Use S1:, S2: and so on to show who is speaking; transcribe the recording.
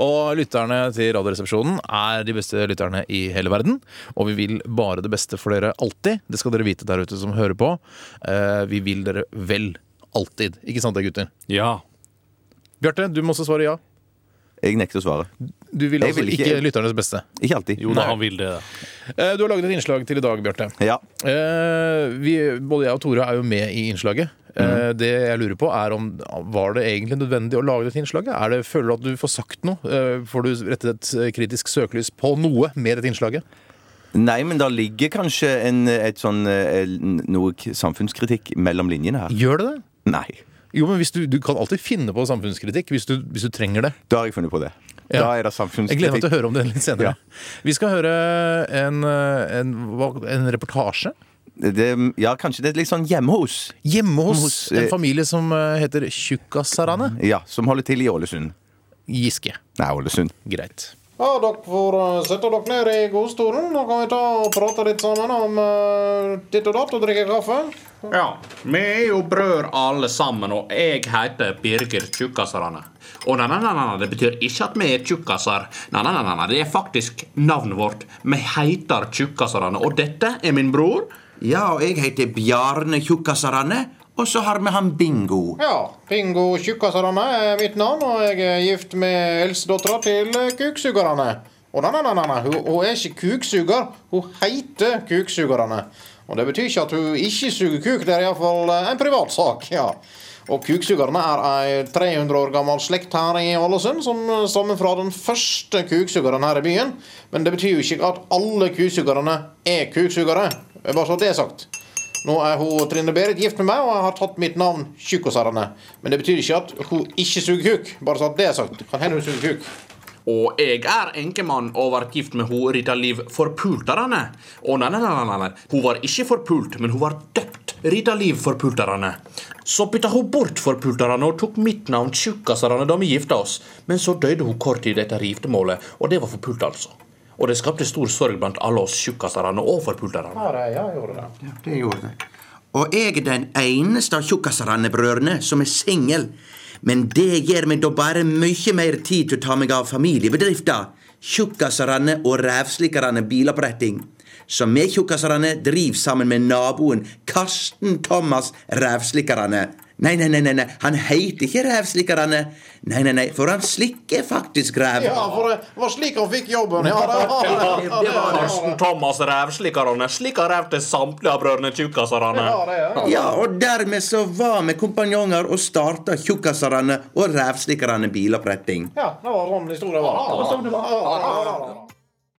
S1: Og lytterne til Radioresepsjonen er de beste lytterne i hele verden. Og vi vil bare det beste for dere alltid. Det skal dere vite der ute som hører på. Eh, Vi vil dere vel alltid. Ikke sant det, gutter?
S2: Ja.
S1: Bjarte, du må også svare ja.
S3: Jeg nekter å svare.
S1: Du vil
S3: Jeg
S1: altså
S3: vil
S1: ikke,
S3: ikke-
S1: lytternes beste.
S3: Ikke alltid.
S2: Jo da, han vil det.
S1: Eh, Du har laget et innslag til i dag, Bjarte.
S3: Ja.
S1: Eh, vi, både jeg og Tore er jo med i innslaget. Eh, det jeg lurer på er om Var det egentlig nødvendig å lage dette innslaget? Er det, føler du at du får sagt noe? Eh, får du rettet et kritisk søkelys på noe med dette innslaget?
S3: Nei, men der ligger kanskje en, et sånn eh, noe k- samfunnskritikk mellom linjene her.
S1: Gjør det det?
S3: Nei.
S1: Jo, men hvis du, du kan alltid finne på samfunnskritikk hvis du, hvis du trenger det.
S3: Da har jeg funnet på det. Da
S1: Ja.
S3: er det
S1: Jeg gleder meg til
S3: samfunnskritikk.
S1: å høre om det litt senere.
S3: Ja.
S1: Vi skal høre en, en, hva- en reportasje.
S3: Det, ja, kanskje det er litt sånn hjemme hos.
S1: Hjemme hos,
S3: Hos, eh,
S1: en familie som eh, heter Tjukkasarane.
S3: Ja, som holder til i Ålesund.
S1: Giske.
S3: Nei, Ålesund.
S1: Greit.
S4: Ja, dere får eh, sette dere ned i godstolen. Nå kan vi ta og prate litt sammen om eh, ditt og datt og drikke kaffe.
S5: Ja, vi er jo brødre alle sammen, og jeg heter Birger Tjukkasarane. Og nei, nei, nei, nei, det betyr ikke at vi er tjukkasar. Nei, nei, nei, nei, nei, det er faktisk navnet vårt. Vi heter Tjukkasarane, og dette er min bror.
S6: Ja, og jeg heter Bjarne Tjukkasarane, og så har vi han Bingo.
S4: Ja, Bingo Tjukkasarane er mitt navn, og jeg er gift med eldstedattera til eh, Kuksugarane. Og nei, nei, nei, nei, nei, hun, hun er ikke kuksuger. Hun heter Kuksugarane. Og det betyr ikke at hun ikke suger kuk. Det er iallfall eh, en privatsak. ja. Og kuksugerne er ei 300 år gammel slekt her i Ålesund, som stammer fra den første kuksugeren her i byen. Men det betyr jo ikke at alle kuksugerne er kuksugere. Bare så det er sagt. Nå er hun Trine Berit gift med meg, og jeg har tatt mitt navn Tjukkosarane. Men det betyr ikke at hun ikke suger kuk. Bare så at det er sagt. Kan hende hun suger kuk.
S5: Og jeg er enkemann og ble gift med hun Rita Liv Forpultarane. Og nei, nei, nei, nei, nei, hun var ikke forpult, men hun var døpt Rita Liv Forpultarane. Så bytta hun bort Forpultarane og tok mitt navn Tjukkasarane da vi gifta oss. Men så døde hun kort tid etter giftermålet, og det var forpult, altså. Og det skapte stor sorg blant alle oss tjukkasarane og forpultarane.
S4: Ja, det, ja, jeg gjorde det.
S6: Ja, det gjorde det. Og jeg er den eneste av Tjukkasarane-brødrene som er singel. Men det gir meg da bare mye mer tid til å ta meg av familiebedrifta. Tjukkasarane og Rævslikarane biloppretting. Som vi tjukkasarane driver sammen med naboen Karsten Thomas Rævslikarane. Nei, nei, nei, nei, nei, han heter ikke Rævslikarane. Nei, nei, nei, for han slikker faktisk ræv.
S4: Ja, for det var slik han fikk jobben. Ja, det var det. Ja, det, var
S5: Karsten
S4: det.
S5: Thomas Rævslikarane. Slik har ræv til samtlige av brødrene Tjukkasarane.
S4: Ja, det, ja.
S6: Ja, og dermed så var vi kompanjonger og starta Tjukkasarane og Rævslikarane biloppretting.
S4: ja, det var sånn historien var. Ja, det var sånn det var.